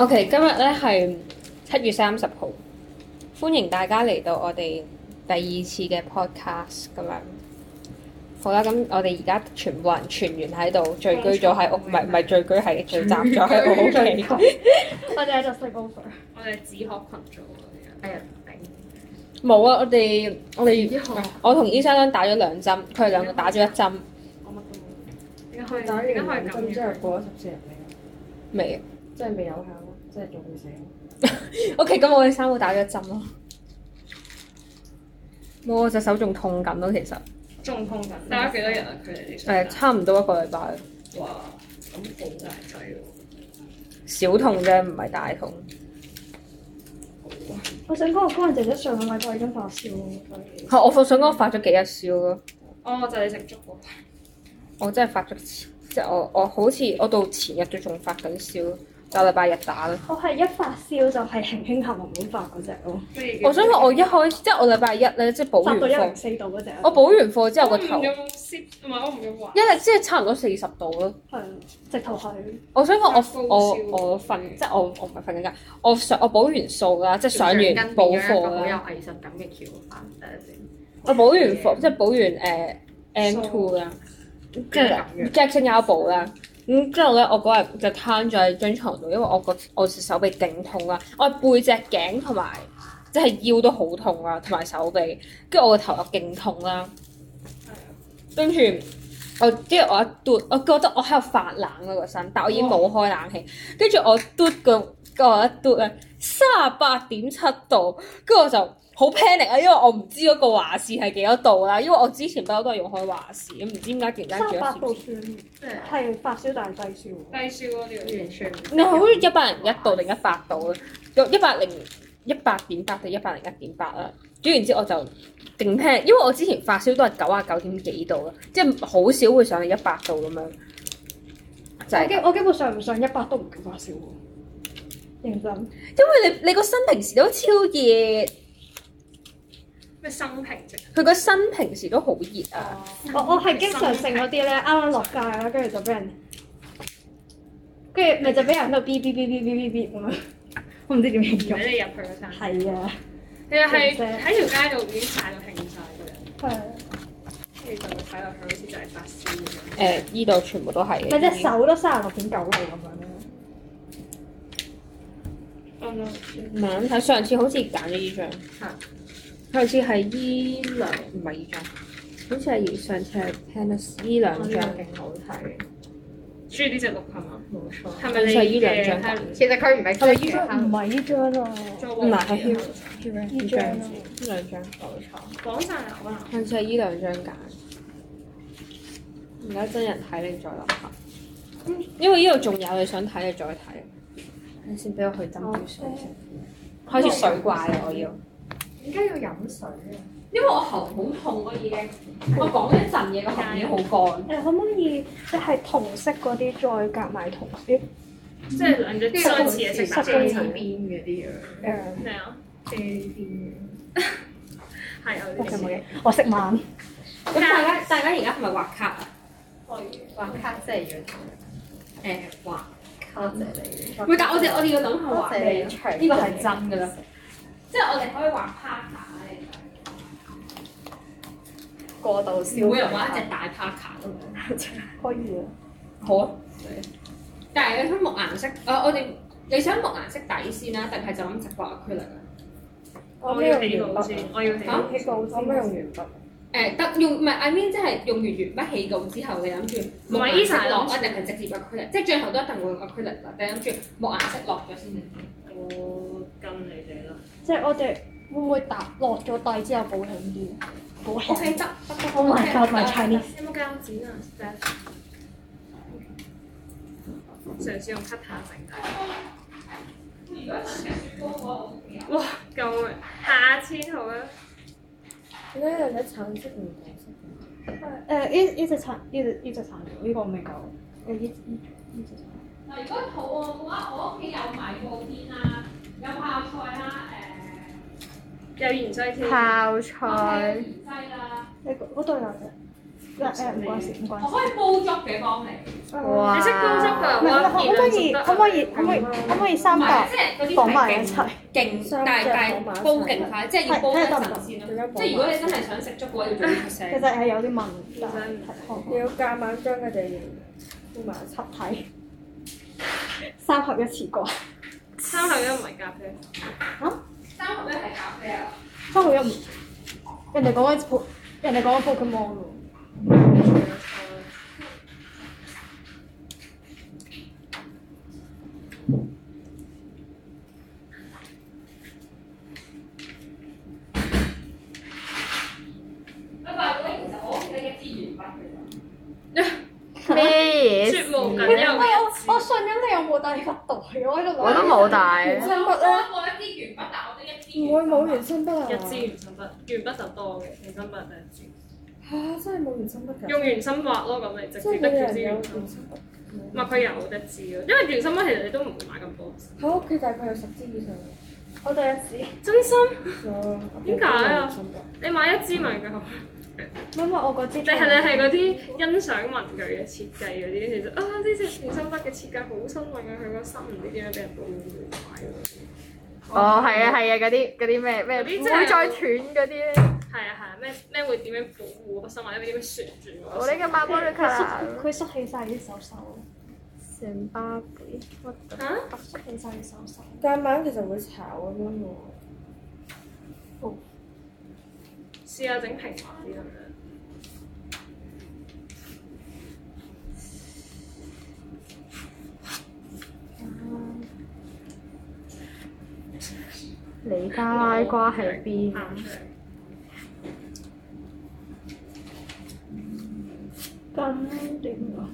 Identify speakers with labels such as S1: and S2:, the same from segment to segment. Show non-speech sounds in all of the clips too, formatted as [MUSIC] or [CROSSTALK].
S1: OK，今日咧係七月三十號，歡迎大家嚟到我哋第二次嘅 podcast 咁樣。好啦，咁我哋而家全部人全員喺度聚居咗喺屋，唔係唔係聚居，係聚集咗喺我屋企。
S2: 我哋喺度 sleep over。
S3: 我哋自學群組啊咁樣。
S2: 哎呀，頂！
S1: [LAUGHS] 冇啊，我哋我哋
S2: 之後
S1: 我同醫生咧打咗兩針，佢哋兩個打咗一針
S3: 我乜都冇。點解可以？
S4: 打完
S3: 點解可以
S4: 兩
S3: 咁
S4: 針之後
S3: 樣？
S4: 過咗十四日未
S1: 未
S4: 啊？即係未有效咯，即係仲會死咯。
S1: ？OK，咁我哋三個打咗一針咯。冇，啊我隻手仲痛緊咯，其實
S3: 仲痛緊。打咗幾多日啊？佢哋啲
S1: 誒、差唔多一個禮拜，
S3: 哇，咁好大劑喎！
S1: 小痛啫，唔係大痛。
S2: 我想講，我工人姐姐上個禮拜已經發燒啦。
S1: 係我想講我發咗幾日燒咯，
S3: 哦，就係你食粥嗰排。
S1: 我真係發咗，即係我我好似我到前日都仲發緊燒，就禮拜日打啦。
S2: 我係一發燒就係輕輕合合咁發嗰只咯，
S3: 咩叫
S1: 我想講我一開始即係我禮拜一咧，即係補
S2: 發
S1: 完
S2: 到一零
S1: 課，
S2: 四度嗰啊只。
S1: 啊我補完課之後個頭
S3: 我唔用 sip，唔係我唔用話
S1: 一。日即係差唔多四十度咯。
S2: 係直頭係
S1: 我想
S3: 發
S1: 講
S3: 高
S1: 我我
S3: 燒
S1: 我瞓，即係我我唔係瞓緊覺，我上我補完數啦，即係上完補課
S5: 好有
S1: 啦，
S5: 藝術感嘅橋法，等陣先。
S1: 我補完課即係補完誒 M two 啦，跟住
S5: 樣
S1: Jackson 有補啦。咁之後咧，我嗰日就攤咗喺張床度，因為我個我隻手臂勁痛啦，我背脊頸同埋即係腰都好痛啦，同埋手臂，跟住我個頭又勁痛啦，跟住我跟住我一嘟，我覺得我喺度發冷嗰個身，但我已經冇開冷氣，跟住我嘟個個我一嘟咧，三十八點七度，跟住我就好 panic 啊，因為我唔知嗰個華氏係幾多度啦，因為我之前不嬲都係用開華氏，咁唔知點解突然間轉
S2: 三十
S1: 咗
S2: 八
S1: 攝氏
S2: 度算
S5: 即係
S2: 係發燒但係低燒。
S3: 低燒嗰啲
S5: 完全唔
S1: 你係好似一百零一度定一百度啦，有一百零一百點八到一百零一點八啦。跟住然之後我就勁 p 因為我之前發燒都係九啊九點幾度啦，即係好少會上去一百度咁樣。就
S2: 我
S1: 係、
S2: 基我基本上唔上一百都唔敢發燒喎。認真，
S1: 因為你你個身平時都超熱，
S3: 咩生平啫？
S1: 佢個身平時都好熱啊。
S2: 哦我我係經常性嗰啲咧，啱啱落街啦，跟住就俾人，跟住咪就俾人喺度嗶嗶嗶嗶嗶嗶嗶咁樣， [LAUGHS] 我唔知點形
S3: 唔
S2: 容。
S3: 俾你入去嗰餐。
S2: 係啊，
S3: 你係喺條街度已經曬到興晒嘅人，
S2: 係啊。
S3: 跟住就睇落去好似就係發燒咁
S1: 誒、
S3: 樣。
S1: 依度全部都係
S2: 你
S1: 嘅。
S2: 隻手都三十六點九度咁樣咧，
S3: 啱啦，
S1: 唔嗯係睇上次好似揀咗依張，
S5: 係
S1: 上次係依兩唔係依張，好似係上次係 tennis 依兩張。
S5: 勁好睇，
S3: 中意呢只綠係嘛？
S5: 冇錯。
S3: 係咪你
S1: 就係呢兩張
S3: 嘅？
S5: 其實佢唔係
S1: 係咪
S5: 即
S1: 呢
S5: 係
S2: 唔係呢張啊，
S3: 唔
S1: 唔係係
S2: 呢
S1: 呢
S2: 張啊
S1: 張，依兩張。
S5: 冇錯，
S3: 講晒啦，可能
S1: 上次係依兩張揀，而家真人睇你再諗下。嗯因為呢度仲有你想睇，你再睇。你先俾我去斟杯水先。開始水怪啦，我要。
S5: 點解要飲水啊？
S1: 因為我喉好痛，我已經我講一陣嘢，個喉已經好乾。
S2: 誒可唔可以即係同色嗰啲再夾埋同啲
S3: 即係兩隻相似嘅色
S2: 實
S3: 相
S2: 際
S3: 似
S2: 上
S5: 邊嗰啲啊，
S2: 誒
S3: 咩啊？
S5: 遮邊
S3: 係有
S2: ？OK 冇
S3: 啲
S2: 嘢，我食晚
S1: 咁大家大家而家係咪畫卡啊？
S5: 畫卡即係要
S1: 誒畫。
S5: 多謝你，
S1: 唔係，但我哋我哋要諗下
S5: 多
S1: 畫
S5: 謝
S1: 咩
S5: 你除
S1: 呢個係真㗎啦。即係我哋可以啊畫 parka 咧，
S5: 過度消
S1: 每人畫一隻大 parka 咁樣。
S2: 可以啊，
S1: 好啊。但係你想木顏色，誒、啊我哋你想木顏色底先啦，定係就咁直畫 acrylic 啊？
S3: 我
S2: Ờ,
S3: 要起稿先，我要起稿。
S2: 呢個
S4: 我咩用鉛筆？
S1: 誒得用唔係，I mean 即係用完鉛筆起稿之後，你諗住木
S3: 唔係
S1: 顏
S3: Elsa
S1: 色落，
S3: 諗
S1: 一定係直接 acrylic，即係最後都一定會用 acrylic 啦。你諗住木顏色落咗先嚟。
S3: 我跟你哋啦。
S2: 即係我哋會唔會搭落咗底之後保險啲？保
S1: O K
S2: 險。
S1: 得得得
S2: Oh my god, my
S1: 得
S2: Chinese！
S3: 有冇膠剪啊？Steph，嘗試用 cut 下整底。哇！救命！下次好啦。
S4: 點解有隻橙色唔同色？
S2: 誒呢呢隻殘呢隻呢隻殘料呢個未夠，誒呢呢呢隻殘料
S1: 嗱，如果肚餓嘅話，我屋企有米布甸啊，有泡菜啦，
S3: 有芫茜添。
S5: 泡
S1: 誒、
S5: 菜，
S1: 芫荽啦。
S2: 你嗰嗰度有隻嗱誒唔關事，唔關
S3: 我
S2: 事。
S3: 可以煲粥嘅幫你，
S2: 唔
S3: 你識煲粥㗎？
S2: 係，可唔可以？可唔可以？可唔可以？可唔可以三搭
S3: 嗯即係嗰啲
S2: 綁埋一
S3: 係勁
S2: 齊？
S3: 勁，
S6: 雙
S3: 但係
S6: 隻
S3: 但
S6: 綁
S3: 係
S6: 埋一齊
S3: 煲勁快，即係要
S2: 係
S3: 煲
S2: 睇
S3: 得
S2: 下得唔得
S3: 神先
S6: 仲有
S3: 咯。
S6: 綁
S3: 即係如果你真係想食粥嘅話，要早啲出聲
S2: 其實。係有啲問題，
S3: 真係
S6: 你要夾硬將佢哋搬埋一齊。
S2: 合體三合一次過，
S3: 三合一唔係咖啡。
S2: 嚇？
S3: 三合一係咖啡啊！
S2: 三合一唔人哋講緊 po，人哋講緊 Pokemon 喎。
S3: 我發覺其實我屋企得一支鉛筆嘅
S7: 咩
S3: 啫，絕無僅
S2: 喂喂
S3: 有
S2: 我
S3: 嘅。
S2: 我信緊你有冇帶個袋？我喺度諗
S7: 我都冇帶
S6: 原
S3: 我
S6: 生筆咧，
S3: 我一支鉛筆，但我得一支鉛筆。
S6: 唔會冇原生筆啊？
S3: 一支原生筆，原筆就多嘅，原生筆兩支。
S6: 嚇！真係冇原生筆㗎。
S3: 用原生畫咯，咁你直
S6: 即
S3: 接
S6: 係
S3: 得
S6: 冇
S3: 住
S6: 人
S3: 支
S6: 有
S3: 原
S6: 原
S3: 生筆。
S6: 生
S3: 唔
S6: 筆。
S3: 係佢有得支咯，因為原生筆其實你都唔會買咁多。
S6: 喺屋企大概有十支以上。
S2: 我第一次。
S3: 真心
S6: 有。
S3: 點解啊你買一支咪夠？
S2: 因為我嗰支。
S3: 定係你係嗰啲欣賞文具嘅設計嗰啲，其實啊呢隻原生筆嘅設計好新穎啊！佢個心唔知點樣俾人報買喎。
S7: 哦，係啊，係啊，嗰啲嗰啲咩咩
S3: 嗰啲
S7: 唔
S3: 真係
S7: 會再斷嗰啲咧。
S3: 係啊係啊，咩咩會點樣保護個心或者點樣旋轉個
S7: 我
S3: 心
S7: 呢？個馬波瑞卡啦，
S2: 佢縮起晒啲手手，
S7: 成巴貝，我
S3: 嚇！
S2: 縮起晒啲手手。
S6: 夾硬其實會炒咁樣喎。
S3: 試下整平滑啲啊咁樣。
S7: 尼加拉瓜喺邊？
S3: 行出嚟
S2: 咁點啊？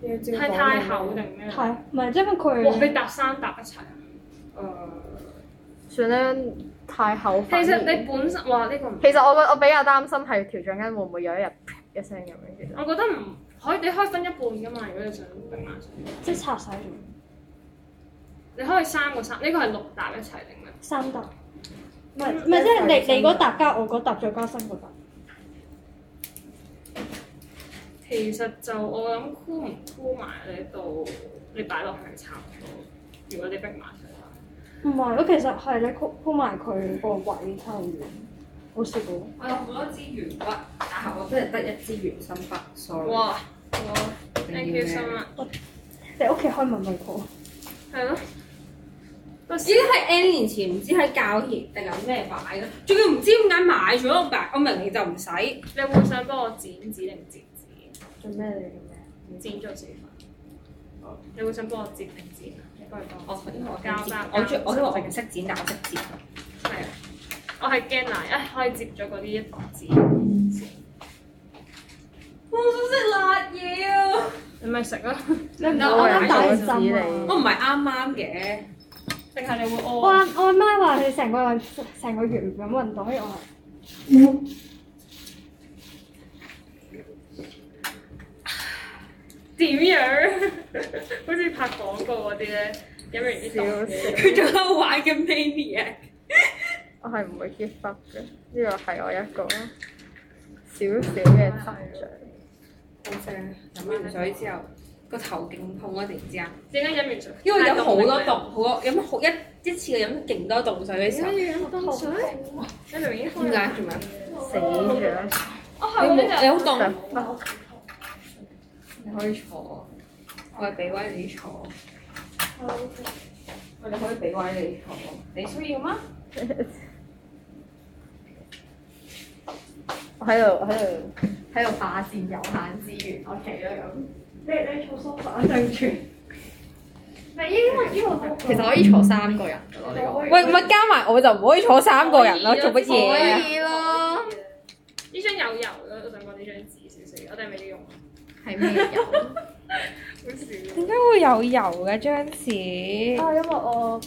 S6: 要照
S3: 係太厚定咩？啊
S2: 係，唔係因為佢。
S3: 哇！你搭三搭一齊啊。
S7: 算啦，太厚
S3: 其
S7: 粉。
S3: 實你本身哇呢個唔，
S7: 其實我個我比較擔心係條橡筋會唔會有一日一聲咁樣其實。
S3: 我覺得唔可以，你可以分一半噶嘛。如果你想定埋上，
S2: 即係拆晒咗
S3: 你可以三個三，呢個係六搭一齊定咩？
S2: 三沓，唔係唔係即係你你嗰沓加我嗰沓再加新嗰沓，
S3: 其實就我諗箍唔箍埋你度，你擺落去係差唔多。如果你逼埋上去，
S2: 唔係咯，其實係你鋪鋪埋佢個位太遠，好試過。
S1: 我有好多支鉛筆，但係我真係得一支原生筆，sorry。
S3: 哇！哇！Thank you so much。
S2: 你屋企開文具鋪，
S3: 係咯，
S1: 呢啲係 N 年前唔知喺教協定係咩買嘅，仲要唔知點解買咗我白，我明明就唔使。
S3: 你會唔會想幫我剪紙定截紙？
S6: 做咩嚟嘅？
S3: 剪咗四份。你會想幫我截定剪啊？你幫佢幫我。
S1: 我因為哦我
S3: 膠
S1: 識
S3: 包
S1: 剪我最我因為我唔識剪，但我識剪。
S3: 係啊，我係驚嗱，一可以接咗嗰啲一份紙先，
S1: 我好想食辣嘢啊！
S3: 你咪食啦。
S2: 你唔
S1: 得
S2: 好
S1: 我
S2: 咁
S1: 買
S2: 大
S7: 咗紙
S2: 心
S7: 嚟
S2: 啊！
S1: 我唔係啱啱嘅，
S3: 定係你會
S2: 我
S3: 屙？啊
S2: 阿我阿媽話佢成個運成個月唔敢運動，跟住我話
S3: 點樣？好似拍廣告嗰啲咧，飲完啲
S7: 笑
S3: 毒
S7: 死！
S1: 佢仲喺度玩緊 Mania。
S7: 我係唔會 give up 嘅，呢個係我一個少少嘅成長。
S1: 好正！飲完水之後個頭勁痛啊！突然之間，
S3: 點解飲完水？
S1: 因為飲好多凍，好多飲好一一次過飲勁多凍水嘅時候，
S3: 凍水，你明明已經
S1: 點解做咩？
S7: 死咗！
S1: 你
S3: 我後
S1: 冇
S3: 尾
S1: 你好
S3: 就
S1: 凍，
S7: 不
S1: 你可以坐。我係俾位你坐。我哋可以俾位你坐，你需要嗎？
S7: 我喺度喺度。
S1: 喺度霸佔有限資源，OK 啦咁。
S2: 你你坐梳化對住，
S3: 唔係因為因為
S1: 其實可以坐三個人㗎咯，呢個位。喂，唔係加埋我就唔可以坐三個人咯，做乜嘢啊？
S3: 以咯。呢張有油咯，我想講呢張紙少少，我哋未用。啊
S1: 係咩人？
S3: [LAUGHS] 好
S8: 點
S3: 笑。
S8: 解會有油嘅張紙？
S2: 啊因為我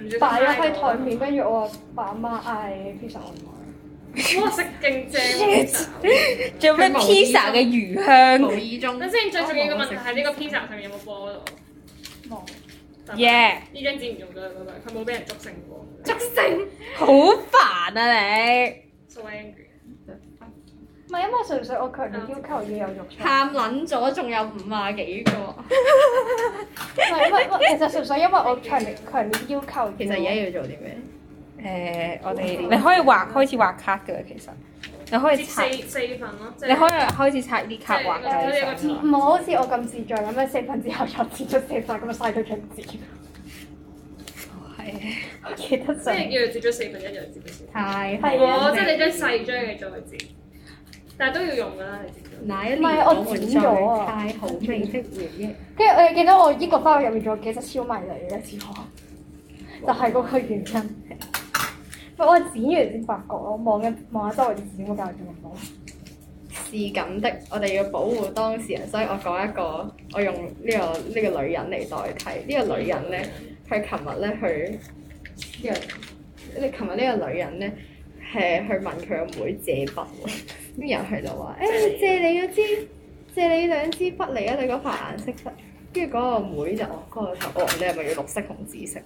S3: 唔知
S2: 擺咗喺台面，跟住我爸阿媽嗌 pizza 外
S3: [LAUGHS]
S2: 賣，
S3: 哇！食勁正喎。
S8: 仲有咩
S1: 佢無意
S8: pizza 嘅魚香
S1: 無意中
S3: 等先，最重要嘅問題係呢個 pizza 上面有冇波到？
S2: 望
S8: ？Yeah，
S3: 呢張紙唔用得嗰個，佢冇俾人捉成過。
S1: 竹性。
S8: 好煩啊你！
S3: So angry。
S8: 唔
S2: 係因為純粹我強烈要求要有肉出，
S6: 喊撚咗，仲有五啊幾個。
S2: 唔係因為其實純粹因為我強烈強烈要求要，
S6: 其實而家要做啲咩？
S1: 誒，我哋你可以畫開始畫卡㗎啦，其實你可以
S3: 即
S1: 拆，
S3: 四四份咯，即
S1: 你可以開始拆呢啲卡畫
S3: 即係有個
S1: 嘅。
S2: 唔好好似我咁智障咁樣四分之後再切咗四塊咁樣啊嘥咗張紙，
S6: 係
S2: 記得
S3: 即
S2: 上。
S3: 係要接咗四分一，又接咗四分
S6: 太
S2: 係
S3: 一。
S2: 啊
S3: 哦，即係你將細張嘅再接，但係都要用㗎啦，你接咗。
S6: 哪一
S2: 唔係
S6: 年
S2: 我
S6: 們
S2: 剪咗啊
S6: 在太好味的回憶。
S2: 跟住我又記得我英國翻去入面仲有幾隻超迷嚟嘅小學，就係嗰個原因。喂我剪完先發覺咯，望一望下周圍啲剪嗰教做唔到。
S6: 是咁的，我哋要保護當事人，所以我講一個，我用呢、個呢、個女人嚟代替。呢、個女人咧，佢琴日咧去呢、個，你琴日呢個女人咧係去問佢阿妹借筆 [LAUGHS] 喎，咁然後佢就話：誒、 [LAUGHS] 借你嗰支，借你兩支筆嚟啊！你嗰排顏色筆。跟住嗰個妹就哦，嗰個頭哦，你係咪要綠色同紫色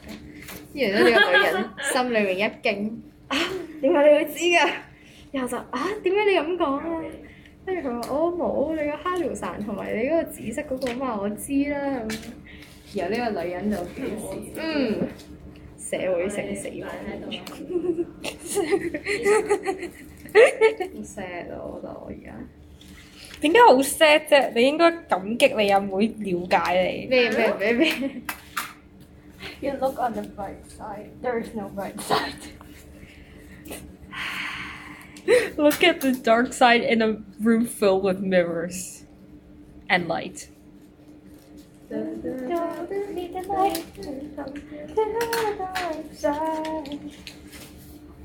S6: 咧？跟住咧呢個女人心裏面一驚， [LAUGHS] 啊，點解你會知㗎？然後就啊，點解你咁講啊？跟住佢話我冇，你個哈條散同埋你嗰個紫色嗰個嘛，我知啦咁。然後呢個女人就表示嗯，社會性死亡。好 sad 啊！我覺得我而家，
S1: 點解好 sad 啫？你應該感激你阿妹了解你。
S6: 咩咩咩咩，
S2: You look on the bright side, there is no bright side。
S1: Look at the dark side in a room filled with mirrors and light.
S2: Don't be the light, dark side。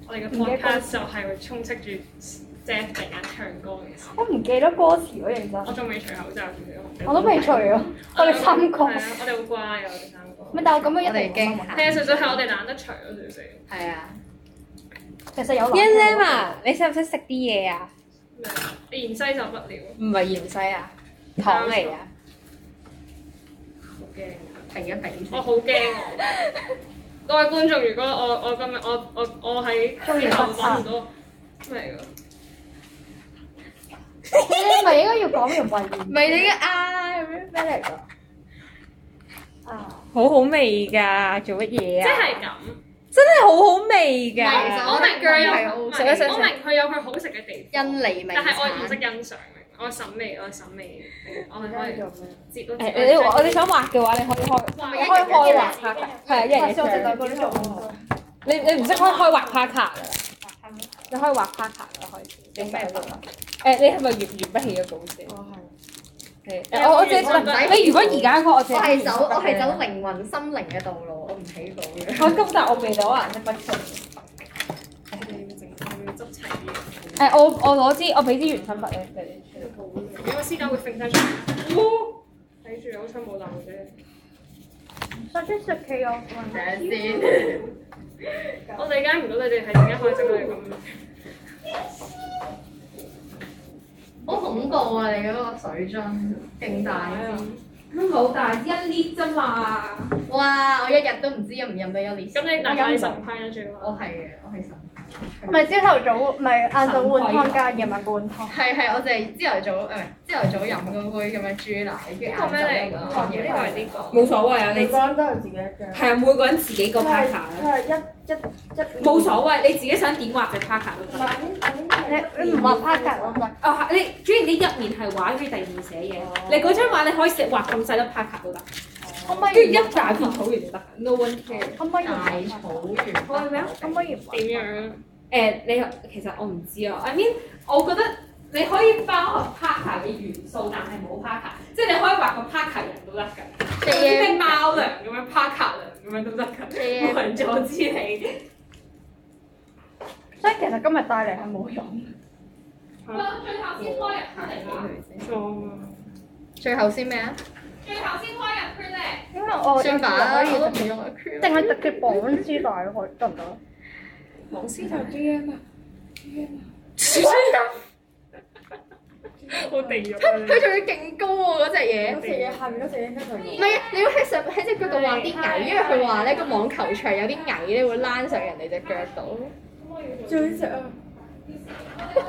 S3: 我哋嘅 podcast 就係會充斥住即係突然間唱歌嘅時候，
S2: 我唔記得歌詞咯，認
S3: 我
S2: 真。
S3: 仲未除口罩，仲要
S2: 我都未除啊，我哋三個。
S3: 係啊，我哋好乖啊，我哋三個。
S2: 咪但係我咁樣
S6: 我哋
S2: 一定
S6: 驚
S2: 冇心啊。
S6: 嚇。
S3: 係啊，純粹係我哋懶得除咯，少少。
S6: 係啊
S2: 其實有諗。
S1: Yan Lam 啊，你使唔使食啲嘢啊？
S3: 咩？芫茜就不了，
S1: 唔係芫茜
S6: à?
S1: 啊，糖嚟啊。
S3: 好驚。
S6: 停一停
S3: 我好驚我。
S2: [LAUGHS]
S3: 各位觀眾，如果我我今日我我我喺之後揾唔到咩㗎？
S2: 你咪應該要講完遺言。
S6: 咪你嘅啊咁樣咩嚟㗎？
S2: 啊！
S1: 好好味㗎，做乜嘢
S3: 即
S1: 啊？
S3: 係咁，
S1: 真係好好味
S6: 唔係其
S1: 㗎。
S6: 實
S3: 我明佢
S6: 係
S2: 啊
S3: 有，
S6: 好
S3: 唔
S6: 食一食
S3: 係我明佢有佢好食嘅地方，
S6: 印尼名
S3: 但係我唔識
S6: 產。
S3: 欣賞，我審美，我審美，我係可
S2: 而
S3: 以
S2: 家做咩？
S3: 接到。
S1: 誒，你我你想畫嘅話，你可以開，
S3: 哇
S1: 你可以開畫卡㗎。係啊，一人
S2: 下
S1: 一
S2: 次我哋
S1: 張。
S2: 兩個呢度。
S1: 你你唔識開開畫卡卡㗎？你可以畫卡卡㗎，開始。用咩筆啊？誒，你係咪完完不起嘅稿先？
S2: 我係。
S1: 係誒我我借
S6: 我
S1: 你如果而家嗰個我借
S6: 我
S1: 完
S6: 係
S1: 不起
S6: 走
S1: 嘅
S6: 我係走靈魂心靈嘅道路，我唔起稿嘅。
S1: 我今集我未攞顏色筆出。
S3: 我要執齊嘢。
S1: 誒，我我攞支我俾支原生筆你你。
S3: 因為私家會揈晒出嚟。哦睇住好彩冇漏啫。
S2: 我中意食企鵝雲。
S6: 等先，
S3: 我哋解唔到你哋係點解可以整到你咁。
S6: 好恐怖啊！你嗰個水樽勁大啊！
S5: 咁好大，一 lit 啫嘛。
S6: 哇！我一日都唔知飲唔飲到一年。
S3: 咁你大概十派啦最好。
S6: 我係嘅，我係神。
S2: 唔係朝頭早，唔係晏晝換湯加夜晚換湯。
S6: 係係，我就係朝頭早誒，朝頭早飲嗰杯咁樣豬奶，跟住晏
S3: 呢個咩嚟㗎？
S6: 晝飲
S3: 呢
S6: 個
S3: 個係呢個。
S5: 冇所謂啊，你
S4: 每個人都有自己一張，
S5: 係啊，每個人自己個 partner 啊
S4: 佢係一一一
S5: 冇所謂，你自己想點畫隻 partner 都
S4: 唔
S5: 得。
S4: 係
S2: 你你唔畫 p a r 我咪
S5: 哦，係你主要你一面係畫，跟住第二面寫嘢。你嗰張畫你可以寫畫咁細粒 partner 都得，
S2: 可唔可
S5: 跟住
S2: 以？
S5: 一大片草原就得，no one care。
S2: 可唔可以？
S6: 大草原。
S5: 可以咩啊？
S2: 可唔可以唔畫？
S3: 點樣？
S5: 誒、你其實我唔知啊，I mean，我覺得你可以包含 partner 嘅元素，但係冇 partner，即係你可以畫個 partner 人都得㗎，即係啲貓糧咁樣 partner 糧咁樣都得㗎，冇人阻止你。
S2: 所以其實今日帶嚟係冇用。
S5: 到最後先開人出嚟㗎，
S3: 裝啊！
S6: 最後先咩啊？
S5: 最後先開人出嚟。
S2: 因為我
S6: 相反啦，
S2: 可以
S6: 我都唔用個
S2: 定
S6: cream。
S2: 係特別綁絲帶可以得唔得？
S5: 網師就 D M 啊，
S3: 好地獄
S6: 佢仲要勁高喎嗰只嘢
S4: 嗰。隻嘢下面嗰隻嘢應該就
S6: 唔係啊，你要喺上喺只腳度畫啲蟻，因為佢話咧個網球場有啲蟻咧會躝上人哋只腳度。
S4: 最呢只啊，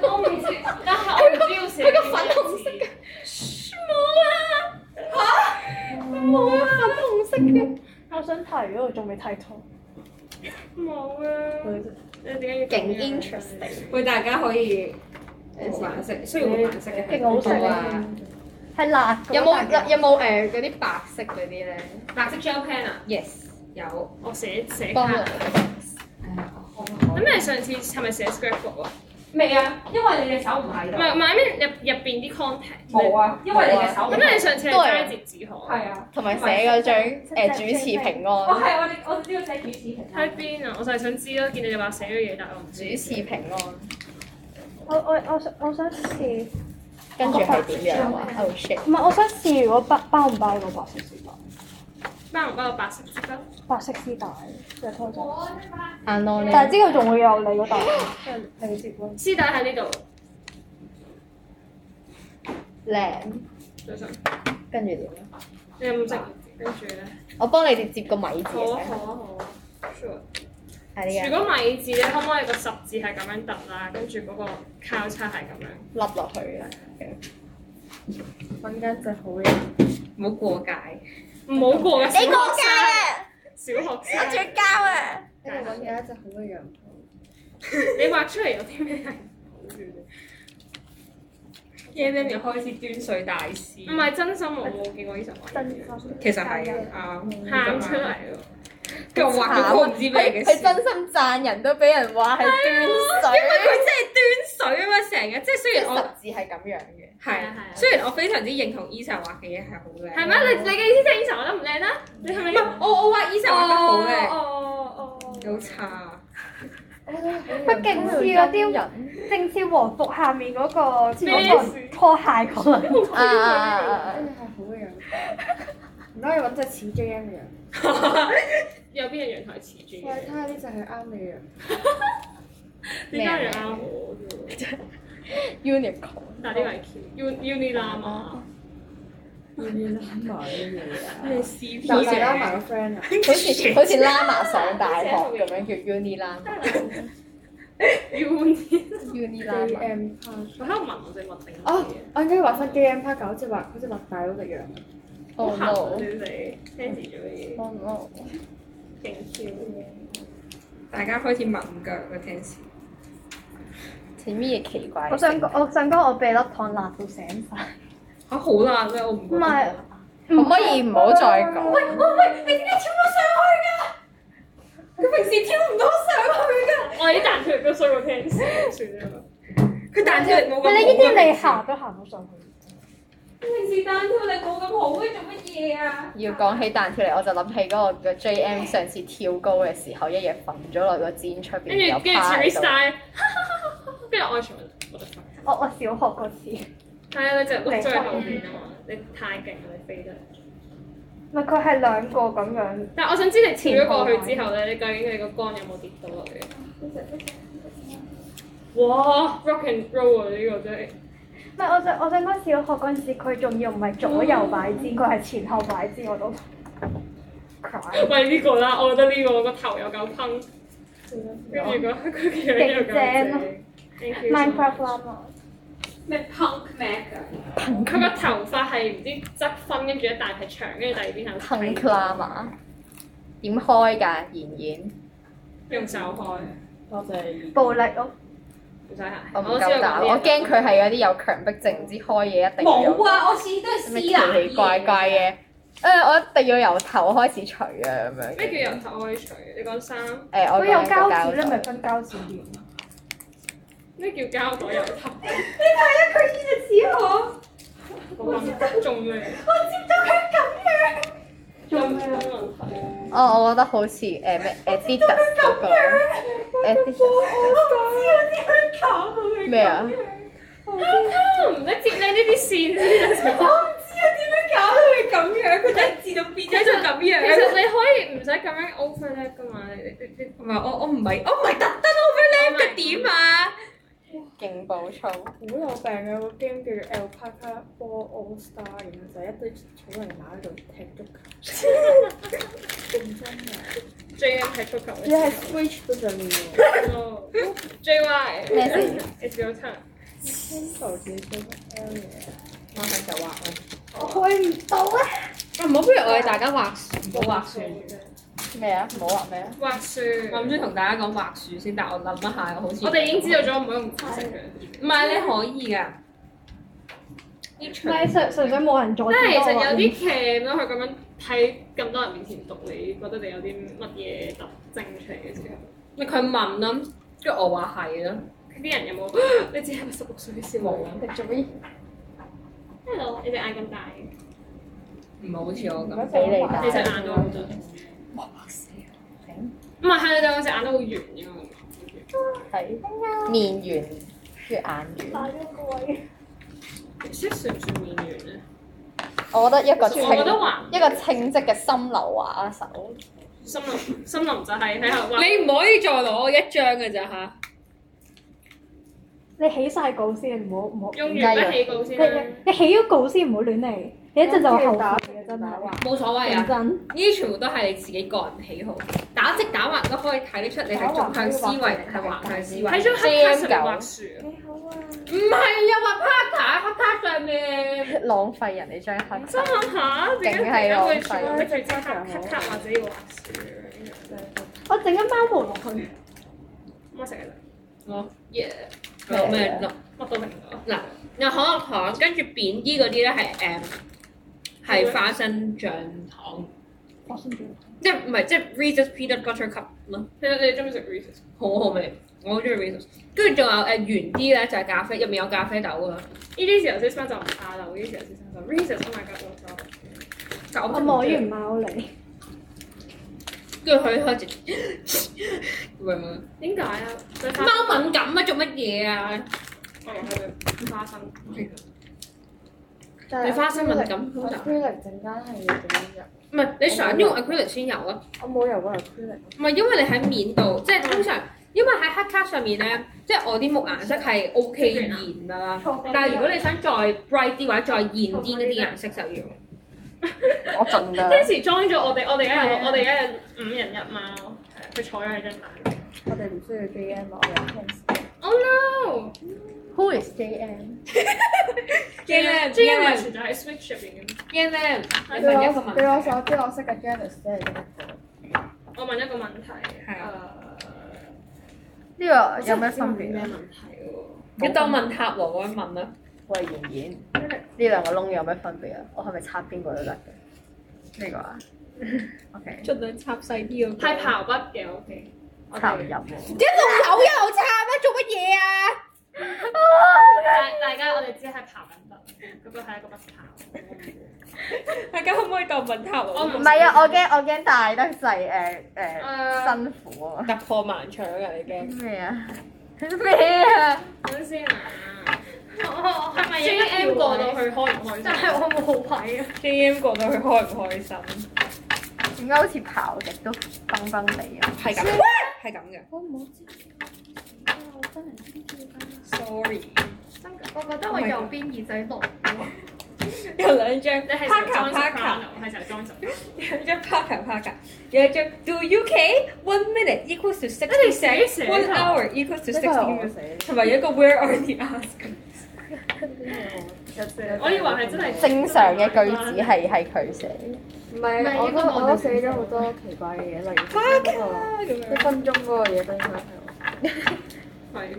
S1: 我唔知，但係我唔知要寫
S6: 佢個粉紅色嘅，冇啊！嚇，冇啊！粉紅色嘅，
S2: 我想睇嗰個仲未睇到。
S3: 冇啊！你點解要
S6: 勁
S3: 咁樣
S6: interesting
S1: 喂，大家可以冇顏色，雖然冇顏色嘅，
S2: 勁好食
S6: 啊！
S2: 係辣㗎
S6: 有冇有冇誒嗰啲白色嗰啲咧
S1: 白色 gel pen 啊，
S6: ？Yes，
S1: 有。
S3: 我寫寫
S6: 幫
S3: 卡
S6: 我。。
S3: 咁你上次係咪寫 scrapbook 啊？
S1: 未啊，因為你隻手唔喺
S3: 唔
S1: 度。
S3: 係唔係，入入邊啲 contact。
S1: 冇啊，因為你隻手唔喺
S3: 咁
S1: 度
S3: 你上次係齋折紙鶴。
S1: 係啊。
S6: 同埋寫嗰張誒主持平
S1: 我
S6: 安，
S1: 哦係我哋我哋呢個寫主持平安
S3: 喺邊啊？我就係想知咯，見你哋話寫咗嘢，但係我唔
S6: 主
S3: 知。
S6: 持平安，
S2: 我我我想我想試，
S6: 跟住係點樣啊？Oh
S3: 哦
S6: shit！
S2: 唔係我想試如果包包唔包嗰個白色絲帶，
S3: 包唔包白色紙巾？
S2: 白色絲帶嘅拖咗。
S6: 眼安
S2: 但
S6: 咧，
S2: 係之後仲會有你嗰 [LAUGHS] 度，即係你嘅接咯。
S3: 絲帶喺呢度。
S6: 靚，
S3: 早晨，
S6: 跟住點啊？啊
S3: 你有冇識？跟住咧，
S6: 我幫你哋接個米字
S3: 好啊
S6: 嘅，
S3: 好啊好啊。Sure。
S6: 係啊
S3: 如
S6: 呢個
S3: 果米字咧，可唔可以個十字係咁樣突啦？跟住嗰個交叉係咁樣。
S6: 凹落去啊嘅。
S9: 揾緊隻好嘢。
S1: 唔好過界。
S3: 唔好過嘅。你過界啊！小學生，
S9: 我揾緊一隻好嘅羊駝。
S3: 你畫出嚟有啲咩係好嘅？
S1: y a m 又開始端水大師
S3: 唔係真心，我冇見過呢層畫。
S2: 真心
S1: 其實係啊，啱
S3: 喊出嚟喎！
S1: 跟住畫咗個唔知咩嘅
S6: 啊
S1: 啊
S6: 佢佢真心讚人都俾人話係端水，
S1: 因為佢真係端水啊嘛，成日即係雖然我
S6: 十字係咁樣嘅。
S1: 係
S3: 啊係啊
S1: 雖然我非常之認同 Eason 畫嘅嘢係好靚，
S3: 係
S9: 啊
S3: 咩？你你嘅意思即係呢層畫得唔靚啦？你係咪？
S1: 唔係我我畫 Eason 畫得好靚，
S3: 哦哦
S1: 好差。
S2: 佢勁似嗰啲正似和服下面嗰個嗰
S3: 咩
S2: 個拖鞋嗰類。
S6: 啊啊啊
S2: [LAUGHS]
S6: 啊！
S9: 真係好嘅羊駝。唔該，你揾隻似 J M 嘅羊。
S3: 哦 [LAUGHS] 有邊人陽台似住
S9: 喂，
S3: 嘅
S9: 睇？下呢隻係啱你嘅啊羊。
S3: [LAUGHS] 呢家人啱我嘅
S9: 啊
S3: 喎，
S6: unicorn
S3: 但係呢個係 Q
S9: 哦
S3: Unilama。
S1: 咩 C P
S9: 啊就係拉埋個 friend 啊！
S6: 好似好似拉馬上大學咁樣叫 Uni 拉
S3: Uni，
S6: Uni 拉
S9: J M Park
S3: 我喺度問我哋問定
S9: 哦，我應該畫翻 J M Park 好似畫好似畫大佬隻羊。
S6: Oh
S3: 行
S6: no！
S3: 你 Fancy 做嘅嘢
S6: Oh no！
S3: 勁 Q。
S1: 大家開始問腳啦，聽先。
S6: 似咩嘢奇怪？
S2: 我想講我想講我被粒糖辣到醒晒。
S1: 嚇好啦，真係我唔覺
S2: 唔
S1: 得
S2: 係
S6: 可唔可以唔好再講？喂
S1: 佢平時跳唔到上去㗎，
S3: 我啲彈出嚟都衰
S9: [LAUGHS]
S3: 過 Fancy，算啦。
S1: 佢彈出嚟冇咁好啊
S2: 喂，
S1: 㗎。
S2: 你呢啲你行都行到上去。
S1: 平時彈跳力冇咁好嘅，做乜嘢啊？
S6: 要講起彈出嚟，我就諗起嗰個嘅 JM 上次跳高嘅時候，一嘢瞓咗落個氈出
S3: 跟
S6: 邊，又
S3: 住跟住
S6: 趴喺
S3: Teresa，
S6: 度。
S3: style，跟住我全部我得翻。
S2: 我我小學嗰次，
S3: 係啊，你就碌咗喺後邊啊嘛，你太勁啦，你飛得。
S2: 唔係佢係兩個咁樣，
S3: 但係我想知你跳咗過去之後咧，你究竟你個杆有冇跌到啊落嚟？哇！rock and roll 啊，呢個真 [LAUGHS] 係〜
S2: 唔係我想我想講小學嗰陣時，佢仲要唔係左右擺姿，佢係前後擺姿，我都 cry，
S3: 喂呢個啦，我覺得呢個個頭有嚿烹，跟 [LAUGHS] 住個佢嘅樣有嚿
S2: 勁正咯
S3: 正啊
S2: Minecraft 啦嘛，
S1: 咩 punk mac 啊？
S3: 佢個頭髮係唔知側分，跟住一大係長，跟住第二邊係
S6: Punk Lama 點開㗎？妍妍，
S3: 用手開，
S9: 多謝。
S2: 暴力咯，
S3: 唔使嚇。
S6: 我唔
S3: 知道講
S6: 夠膽，
S3: 啲嘢啊
S6: 我驚佢係嗰啲有強迫症，唔知開嘢一定要有
S1: 冇啊！我次次都係
S6: 咩
S1: 撕
S6: 奇
S1: 爛嘢
S6: 奇怪怪。啊嘅。誒、我一定要由頭開始除啊，咁樣。
S3: 咩叫由頭可以除？你講衫，
S6: 誒、我
S2: 佢有
S6: 講緊個
S2: 膠紙咧，咪分膠紙嘅。
S3: 咩叫膠袋由頭？
S1: 只可
S3: 我咁仲未。我接到佢咁樣。仲咩問 [LAUGHS] 題？
S6: 哦，我覺得好似誒咩 Adidas 嗰個 Adidas 咩啊？
S3: 唔識接你呢啲線呢
S1: 點樣搞到佢咁樣？佢真係自動變咗做咁
S3: 其實
S1: 樣。
S3: 你可以唔使咁樣 overlap 噶嘛，你你你
S1: 唔係我我唔係我唔係特登 overlap 嘅點啊！
S6: 勁暴躁，
S9: 好有病嘅個 game 叫做 Alpaca Ball All Star，然後就一堆草泥馬喺度踢足球。認真嘅，
S3: J M 係 Coco
S4: 你係 switch 嗰陣喎，
S3: J Y
S2: 咩先
S3: It's your turn。
S4: 邊度自己都得
S5: 我係就話
S2: 我開唔到啊！
S6: 啊唔好，不如我哋大家畫
S5: 我冇畫船，
S4: 咩啊？唔好話咩啊？
S3: 滑雪。
S1: 我諗住同大家講畫樹先，但係我諗一下，好似
S3: 我哋已經知道咗唔好用花式嘅，
S1: 唔係你可以㗎。呢
S2: 唔
S1: 場
S2: 係純純粹冇人阻
S3: 即
S2: 止
S3: 係其實
S2: 我
S3: 有
S2: 啊。
S3: 啲 cam 咯，佢咁樣喺咁多人面前讀，你覺得你有啲乜嘢特徵出嚟嘅時 [LAUGHS] 候，
S1: 咪佢問啦，跟住我話係啦。
S3: 啲人有冇你自己係咪十六歲嘅少女
S4: 你做咩？
S3: ？Hello，你隻眼咁大，
S1: 唔係好似我
S4: 唔
S1: 咁，
S4: 該俾你打。
S3: 你隻眼都好大。唔係，係你兩隻眼都好圓嘅嘛。
S4: 係面圓，跟住眼圓。
S2: 打咗個位，
S3: 即係算唔算面圓咧？
S4: 我覺得一個清
S3: 我覺得還
S4: 一個清晰嘅心流畫手，
S3: 森林，森林就係喺度畫
S1: 你唔可以再攞我一張㗎咋嚇。
S2: 你起晒稿先，唔好唔好。
S3: 用完筆起稿先
S2: 你
S3: 啦
S2: 你。你起咗稿先，唔好亂嚟。你一陣就會後悔嘅，真係。
S1: 冇所謂
S2: 認
S1: 啊，
S2: 真。
S1: 呢啲全部都係你自己個人喜好。打積打橫都可以睇得出你係縱向思維定係橫向思維。
S3: 睇咗黑卡上面畫樹，
S4: 你好啊！
S1: 唔係啊，畫 part 黑卡上面。
S6: [LAUGHS] 浪費人哋張黑
S3: 心諗下，自己突然間會全部逼佢揸黑卡或者要畫樹，
S2: 我整緊包毛落去，
S3: 咁成日
S1: 哦，耶！有咩咯？
S3: 乜都明咗。
S1: 有可樂糖，跟住扁啲嗰啲咧係誒係花生醬糖，
S2: 我先轉。
S1: 即係唔係即係 Reese's Peanut Butter Cup 咯，
S3: 其實你中意食 Reese's？
S1: 好好味，我好中意 Reese's。跟住仲有誒圓啲咧就係咖啡，入面有咖啡豆啊㗎，
S3: 呢啲時候先生就唔怕啦，呢啲時候先生就 Reese's，oh my god，我錯。
S1: 但我
S2: 我
S1: 真係
S2: 摸
S1: 唔中意
S2: 完貓嚟，
S1: 跟住佢開始 [LAUGHS] 咁樣
S3: 點解啊？對花生
S1: 貓敏感啊，做乜嘢啊？
S3: 我又係花生。
S4: 但
S1: 你花生敏感好大，
S4: acrylic 陣間係要點樣油？
S1: 唔係你想用 acrylic 先有啊？
S4: 我冇油過 acrylic。
S1: 唔係因為你喺面度，即係通常，因為喺黑卡上面咧，即係我啲木顏色係 O K 現噶啦。但係如果你想再 bright 啲或者再現啲嗰啲顏色就要，
S4: 我盡量。
S3: Tansy join 咗我哋，我哋而家有我哋而家有五人一貓，佢坐咗喺張凳。
S4: 我哋唔需要 J M，我哋 Tansy。
S3: Oh no！
S2: Who is J M？
S1: J.M.
S3: 即係因為存在喺 Switch 入邊嘅。
S1: 因咧
S3: 係
S4: 據
S1: 問一個
S4: 我
S1: 問
S4: 據我
S1: 題，啊
S4: 所知，我識嘅 Janice 即係呢一個。
S3: 我問一個問題，
S1: 係
S6: 呢個
S3: 誒
S6: 有咩分別
S3: 咩
S6: 啊？
S3: 問題
S1: 你
S3: 喎？
S1: 當問塔羅咁問啦。
S6: 喂，妍妍，呢兩個窿有咩分別啊？我係咪插邊個都得嘅？呢個
S1: [LAUGHS]
S6: 啊，OK，
S1: 盡量插細啲咯
S3: 係刨筆嘅，OK。我
S6: 插唔入
S1: [LAUGHS]
S3: 哋
S6: 喎。
S3: 大大家我哋只係刨緊筆，嗰個係一個筆刨。
S1: 大家可唔可以當問塔
S3: 我
S1: 羅？
S3: 唔
S6: 唔係啊，我驚我驚大得滯誒
S3: 誒，
S6: 誒辛苦啊！
S1: 突破盲腸㗎，你驚？
S6: 咩
S1: [LAUGHS]
S6: 啊？咩啊？
S3: 等先啊！
S2: 我
S3: 係咪 J M 過到去開唔開心？
S2: 係我冇位啊！
S1: J M 過到佢開唔開心？
S6: 點解好似刨極都崩崩地啊？
S1: 係咁，係咁嘅。
S2: 我冇知，我真係唔知㗎。
S1: Sorry，
S2: 我覺
S1: Oh
S2: 得我右邊耳仔落咗，
S1: 有兩張
S3: 你係
S1: Parker Parker。
S3: 我係成日 join
S1: 有一張 Parker Parker，有一張 Do UK one minute equals to six
S3: 你寫一
S1: percent,
S3: 寫
S1: one
S3: 就
S1: hour equals to
S4: 呢
S1: six
S4: 個係
S1: percent，
S4: 我寫。
S1: 同埋有一個 Where are the ask？
S3: 我以為係真係
S6: 正常嘅句子係係佢寫，
S4: 唔係，我都我都寫咗好多奇怪嘅嘢，例如分鐘嗰個
S1: 咁樣
S4: 一分鐘嗰個嘢都應該係我。
S3: 係。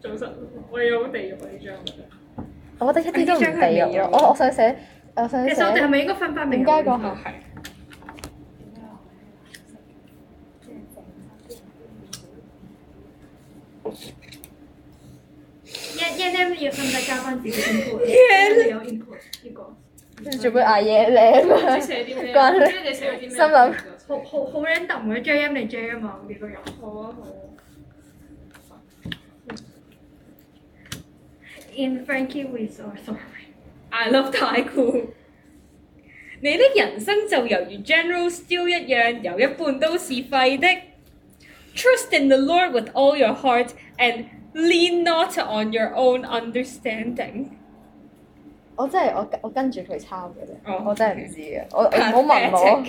S3: 早晨，我有好地獄呢張。
S6: 我覺得一啲都唔地
S1: 呢張係
S6: 獄咯。我我想寫，我想
S1: 其實我哋係
S6: 寫
S1: 咪應該分翻明？
S6: 點解個
S1: 係
S2: 一一咧要瞓低加翻
S4: [LAUGHS]
S2: 自己 input，有 input 呢個
S6: 做咩嗌嘢咧？
S3: 你寫啲咩？
S6: 關你
S3: 即係你寫咗啲咩？
S6: 心諗
S2: 好好好 random 嘅 J M 嚟 J M 啊，我幾個人。
S3: 好啊好啊。
S2: In Frankie with or sorry，
S1: I love 太酷。你的人生就猶如 General Steel 一樣，有一半都是廢的。Trust in the Lord with all your heart and lean not on your own understanding。
S6: 我真係我我跟住佢抄嘅啫，
S1: 哦 [LAUGHS]
S6: 我真係唔知嘅。我我唔好問我，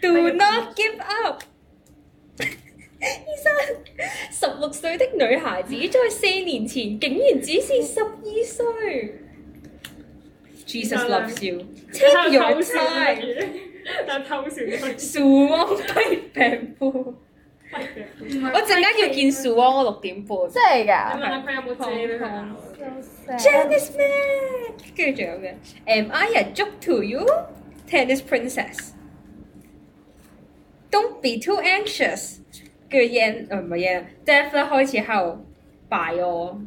S1: Do not give up。醫生，十六歲的女孩子在四年前竟然只是十二歲。Jesus loves you. Take your
S3: 偷笑
S1: time.
S3: 但偷笑呢個
S1: 樹汪低病夫，我陣間要見樹汪，我六點半。
S6: 真係
S3: 你問
S6: 㗎。
S3: 下佢有冇遮俾佢咬？
S1: Janice Man，跟住仲有嘅，Am I a joke to you? Tennis princess. Don't be too anxious. 跟住 Yan，呃唔係 Yan，Death 咧開始喺度拜我。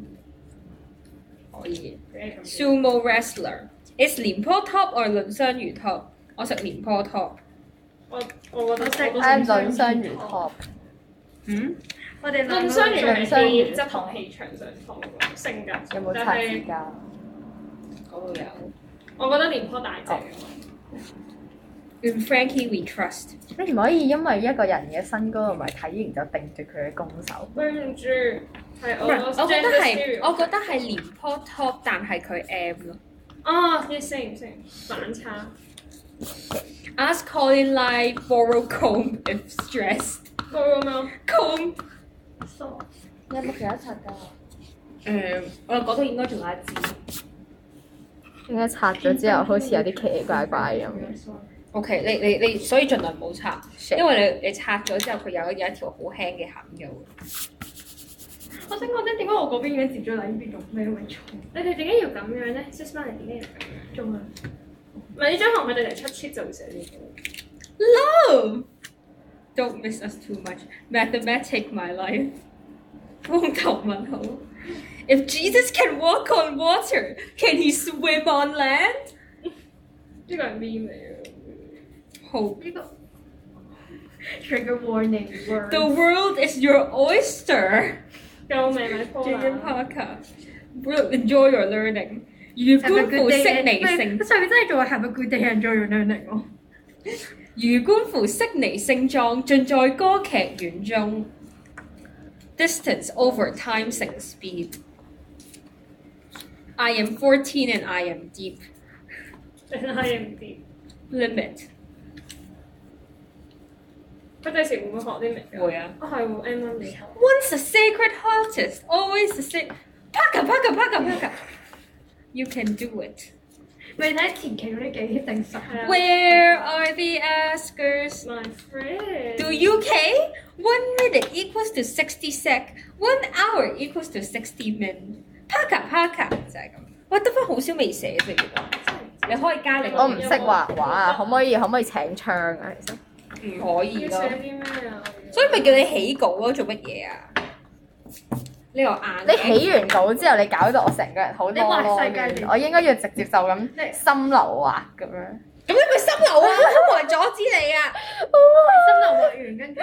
S1: 可以。Sumo wrestler. Is 廉坡 top or 論雙魚 top？我食廉坡 top。
S3: 我我覺得即係
S6: 啱兩雙魚 top，
S1: 嗯。
S3: 我哋論相如係執同氣場上同性格上，
S6: 有冇
S3: 但
S6: 擦指
S3: 係
S6: 甲？
S1: 嗰度有。
S3: 我覺得廉頗大隻啊嘛。
S1: In Frankie we trust.
S6: 你唔可以因為一個人嘅身高同埋體型就定住佢嘅攻守。
S3: 對唔住，係
S1: 唔係
S3: 我
S1: 我覺得係，我覺得係廉頗 top，但係佢 M 咯。
S3: 啊，你識唔識反差？
S1: Ask Colin Lai borrow comb if stressed.
S3: 高咁樣
S1: Comb
S2: 有冇其他刷㗎？
S10: 誒，我嗰度應該仲有一支。
S6: 點解拆咗之後好似有啲奇奇怪怪咁嘅
S1: OK，你你你，所以盡量唔好拆，因
S6: ？shit？
S1: 為你你拆咗之後，佢有有一條好輕嘅痕嘅會。
S4: 我想講咧，點解我嗰邊已經接咗兩邊仲咩會重？
S3: 你哋點解要咁樣咧 s i s m a 點解要咁樣？
S4: 仲啊！
S3: 唔係呢張行咪你哋出 cheap 就會寫呢個。
S1: Oh, don't miss us too much. Mathematic my life. [LAUGHS] 風頭問號。If Jesus can walk on water, can he swim on land?
S3: 呢個係 meme 嚟嘅。
S1: Hope.
S4: 呢個 trigger warning word
S1: The world is your oyster.
S3: 救命啊 p
S1: Junior
S3: a
S1: Parker. Will enjoy your learning. 如觀乎悉
S4: [LAUGHS]
S1: 尼
S4: 唔係
S1: 聖，
S4: 上面真係做係 have a good day enjoy your learning 咯。
S1: 如觀乎悉尼聖狀，盡在歌劇院中。Distance over time 成 speed. I am fourteen and I am deep.
S3: 真係唔掂。
S1: Limit
S3: 佢第時會唔會學啲咩㗎？
S1: 會啊。
S3: 啊係喎，M 啱你學。
S1: Oh, Once a sacred artist, always a sick. Parker, Parker, Parker, Parker. You can do it.
S4: 咪睇前期嗰啲幾定實。
S3: 係啊
S1: Where are the askers?
S3: My friend。
S1: Do you K? One minute equals to sixty sec. One hour equals to sixty min. Paka paka 就係咁。我得翻好少未寫啫，原來。你可以加你個
S6: 我唔識畫畫啊，可唔可以可唔可以請槍啊？其實
S1: 唔可以
S3: 要
S1: 咯，
S3: 寫啲咩啊？
S1: 所以咪叫你起稿咯，做乜嘢啊？呢個眼
S6: 你起完稿之後，你搞到我成個人好囉
S4: 你畫
S6: 囉
S4: 世界
S6: 亂
S4: 地
S6: 我應該要直接就咁
S4: 你
S6: 心流畫咁樣。
S1: 咁你咪心流啊！冇人阻止你啊！
S6: [LAUGHS]
S4: 心流畫完跟住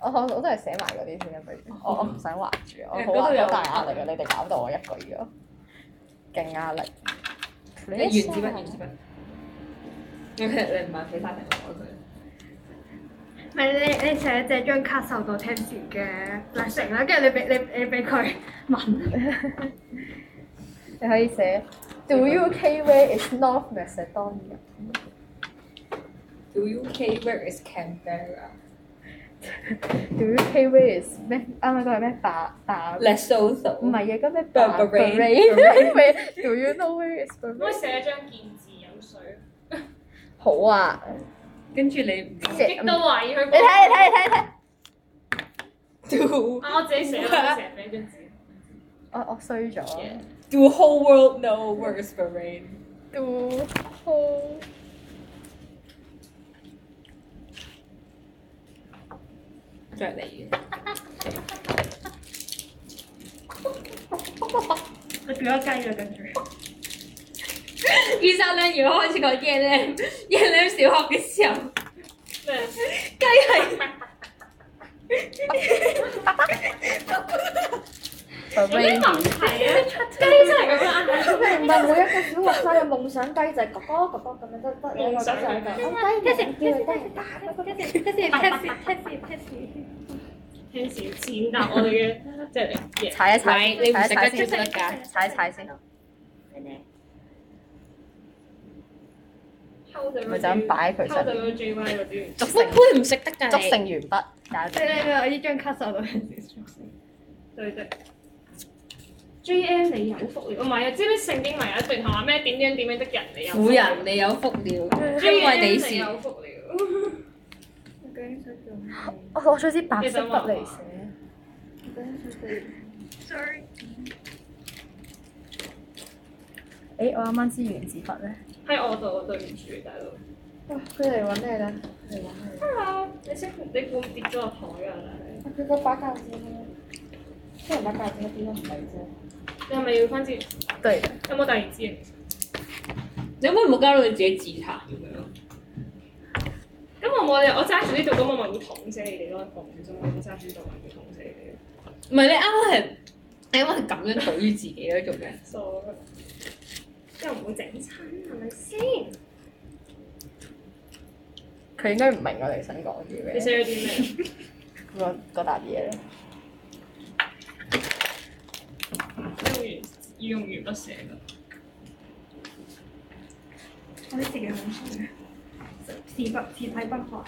S6: 我我我都係寫埋嗰啲先啦，不如我我唔想畫住，我
S1: 誒嗰
S6: 好
S1: 度有
S6: 好大壓力啊！你哋搞到我一個月咯，勁壓力。
S1: 你原子筆，原子筆。OK，你唔係俾曬定我佢。
S4: 咪你你寫借張卡受到聽時嘅 blessing 啦，跟住你俾你你俾佢問，
S6: [LAUGHS] 你可以寫 Do you K where is North Macedonia？
S1: Do you K where is Canberra?
S6: [LAUGHS] Do you K where is 咩？啱啱嗰個係咩？大大
S1: Lesotho
S6: 唔係啊，嗰咩
S1: Bahrain
S6: [LAUGHS] Bahrain？Do you know where is
S3: 可唔可以
S6: Bahrain？
S3: 寫張見字飲水？
S6: 好啊，
S1: 跟住你唔
S6: 即
S3: 激
S6: 係
S3: 都懷疑佢。
S6: 你睇你睇你睇你睇，
S1: do
S3: 啊！我自己寫，我自己寫俾張紙。
S6: 我我哦衰咗。
S1: do whole world know where is Bahrain？
S6: Do whole
S1: Sorry.
S4: 你變咗雞啦跟住。
S1: [LAUGHS] 醫生咧，如果開始講耶 l 耶 m 小學嘅時候，
S3: 咩？
S1: 雞係
S6: Bahrain
S3: 雞真係咁樣啊！
S2: 唔係每一個小學生嘅夢想雞就係哥哥哥哥咁樣得得兩個想嘅，我雞唔叫你
S4: 跟住跟住 test test test。
S3: 聽時踐踏我哋嘅即係嘢。
S6: 踩一踩，
S1: 係你唔
S6: 踩
S1: 食
S6: 一
S1: 得
S6: 踩先
S1: 出，嗯得㗎？
S6: 踩一踩先。
S3: 偷咗
S6: 咪就咁擺佢
S3: 偷咗
S6: 身，
S3: 個 J Y 嗰啲。
S6: 竹
S1: 乜
S6: 成
S1: 杯唔識得㗎
S6: [LAUGHS] 竹
S1: 你？
S6: 成鉛筆，搞
S4: 你
S6: 掂
S4: 你我呢張卡手到係
S3: 對對。J M 你有福了，唔係啊！知唔知聖經咪有一段話咩點樣點樣的人你有福
S1: 婦
S3: 了
S1: 人你有福了，
S3: ，J
S1: 因
S3: M
S1: 為你
S3: 你
S1: 是
S3: 有福了。
S2: 我攞咗支白色筆嚟寫。誒，我啱啱支原子筆咧。
S3: 喺我度，對唔住大佬。
S2: 哇！哦佢嚟揾你啦，嚟揾你。
S3: Hello，你啊識你估跌咗個台啊？
S2: 佢個把教子咧，雖然把教子變咗唔係啫。
S3: 你係咪要翻支？
S6: 對，
S3: 有冇第二支？啊
S1: 你可唔可以唔好加到你自己自彈咁樣？
S3: 咁我冇理由我揸住呢度，咁我咪會捅死你哋咯！我唔小心咁揸住呢度，咪會捅死你哋。
S1: 唔係你啱啱係你啱啱係咁樣對於自己咯，做咩？
S3: 傻嘅，即係唔會整親，係咪先？
S6: 佢應該唔明我哋想講啲
S3: 你
S6: 咩，
S3: 寫咗啲咩？
S6: 嗰嗰沓嘢咧。
S3: 用完要用鉛筆寫㗎。
S4: 我啲自己好衰，自不自體不害，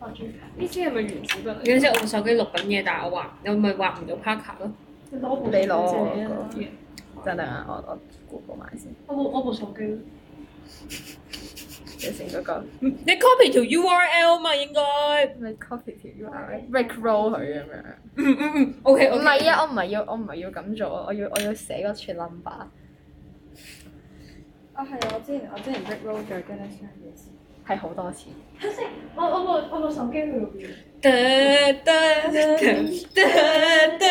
S4: 我最近
S3: 呢支係咪原子筆嚟？
S1: 嗰陣時我部手機錄緊嘢，但係我畫，我咪畫唔到 Parker 咯。
S4: 你攞部
S6: 你攞
S4: 手機
S6: 我
S4: 啊
S6: 個等等啊，我我 Google 埋先，
S4: 我部我部手機。
S6: 你成嗰個
S1: 你 copy 條 URL 嘛應該？
S6: 你 copy 條 URL rickroll 佢咁樣。
S1: 嗯嗯嗯，OK
S6: 唔
S1: OK。
S6: 係啊，我唔係要我唔係要咁做啊，我要我要寫嗰串 number。
S2: 啊係啊！我之前我之前 Rick Roll 咗 g a n e s h 嘅事。
S6: 係好多次，
S4: 我我部我部手機去到邊？
S1: 得得得得得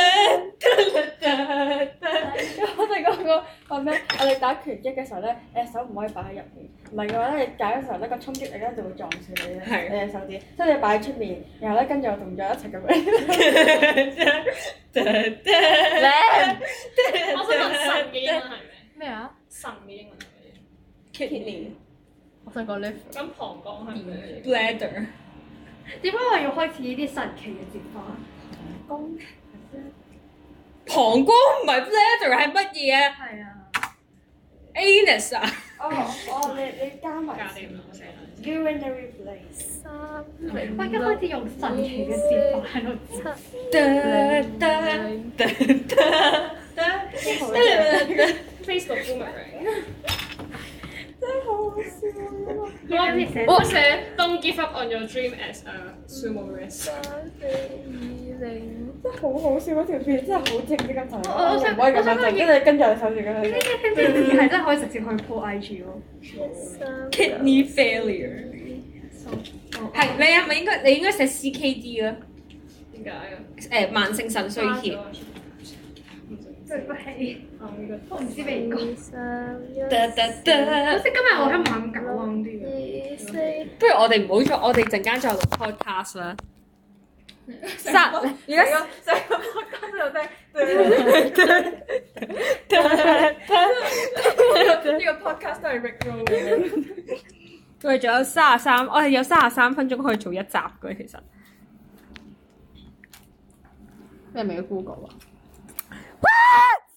S1: 得得
S2: 因為我哋嗰個話咩？我哋打拳擊嘅時候咧，你隻手唔可以擺喺入面，唔係嘅話咧，你打嘅時候咧個衝擊力咧就會撞住你咧，
S1: 係
S2: 你隻手指，所以你擺喺出面，然後咧跟住我動作一齊咁樣。
S1: 得得。
S6: 靚
S3: 我想問神嘅英文係咩？
S6: 咩啊？
S3: 神嘅英文係咩？
S1: Kidney
S6: 我想講 lift
S3: 咁膀胱係咩？
S1: bladder
S4: 點解我要開始呢啲神奇嘅節目？
S1: 膀胱唔係 bladder 係乜嘢啊
S4: 係啊，
S1: ？Anus 啊？
S2: 哦哦，你你加埋
S3: 咖喱唔好寫啦。
S2: urinary place。
S6: 三
S4: 我而家開始用神奇嘅節目喺度測。
S1: 得得得得得。
S3: Facebook boomerang，
S4: 我開始寫。
S3: 我寫 Don't give up on your dream as a sumo wrestler。
S2: 真係好好笑嗰條片，真係好正啲咁同你
S4: 我我
S2: 講，
S4: 想
S2: 你唔可以咁樣整，跟住跟住我手指咁樣。
S4: 呢啲呢啲係真係可以直接去 po IG 咯。
S1: Kidney failure 係你係咪應該你應該寫 CKD 啦？
S3: 點解啊？
S1: 誒慢性腎衰竭。
S3: 唔知
S4: 對不起，
S3: 啊呢個
S4: 我唔知邊個。
S1: 得得得
S4: 好似今日我喺猛搞啊啲嘢。
S1: 不如我哋唔好再，我哋陣間再錄 podcast 啦。三而家 [LAUGHS]
S2: 呢個 podcast 都係 Rick Roll 嘅。
S1: 我哋仲有三十三，我哋有三十三分鐘可以做一集嘅，其實
S6: 你係咪要 Google 啊？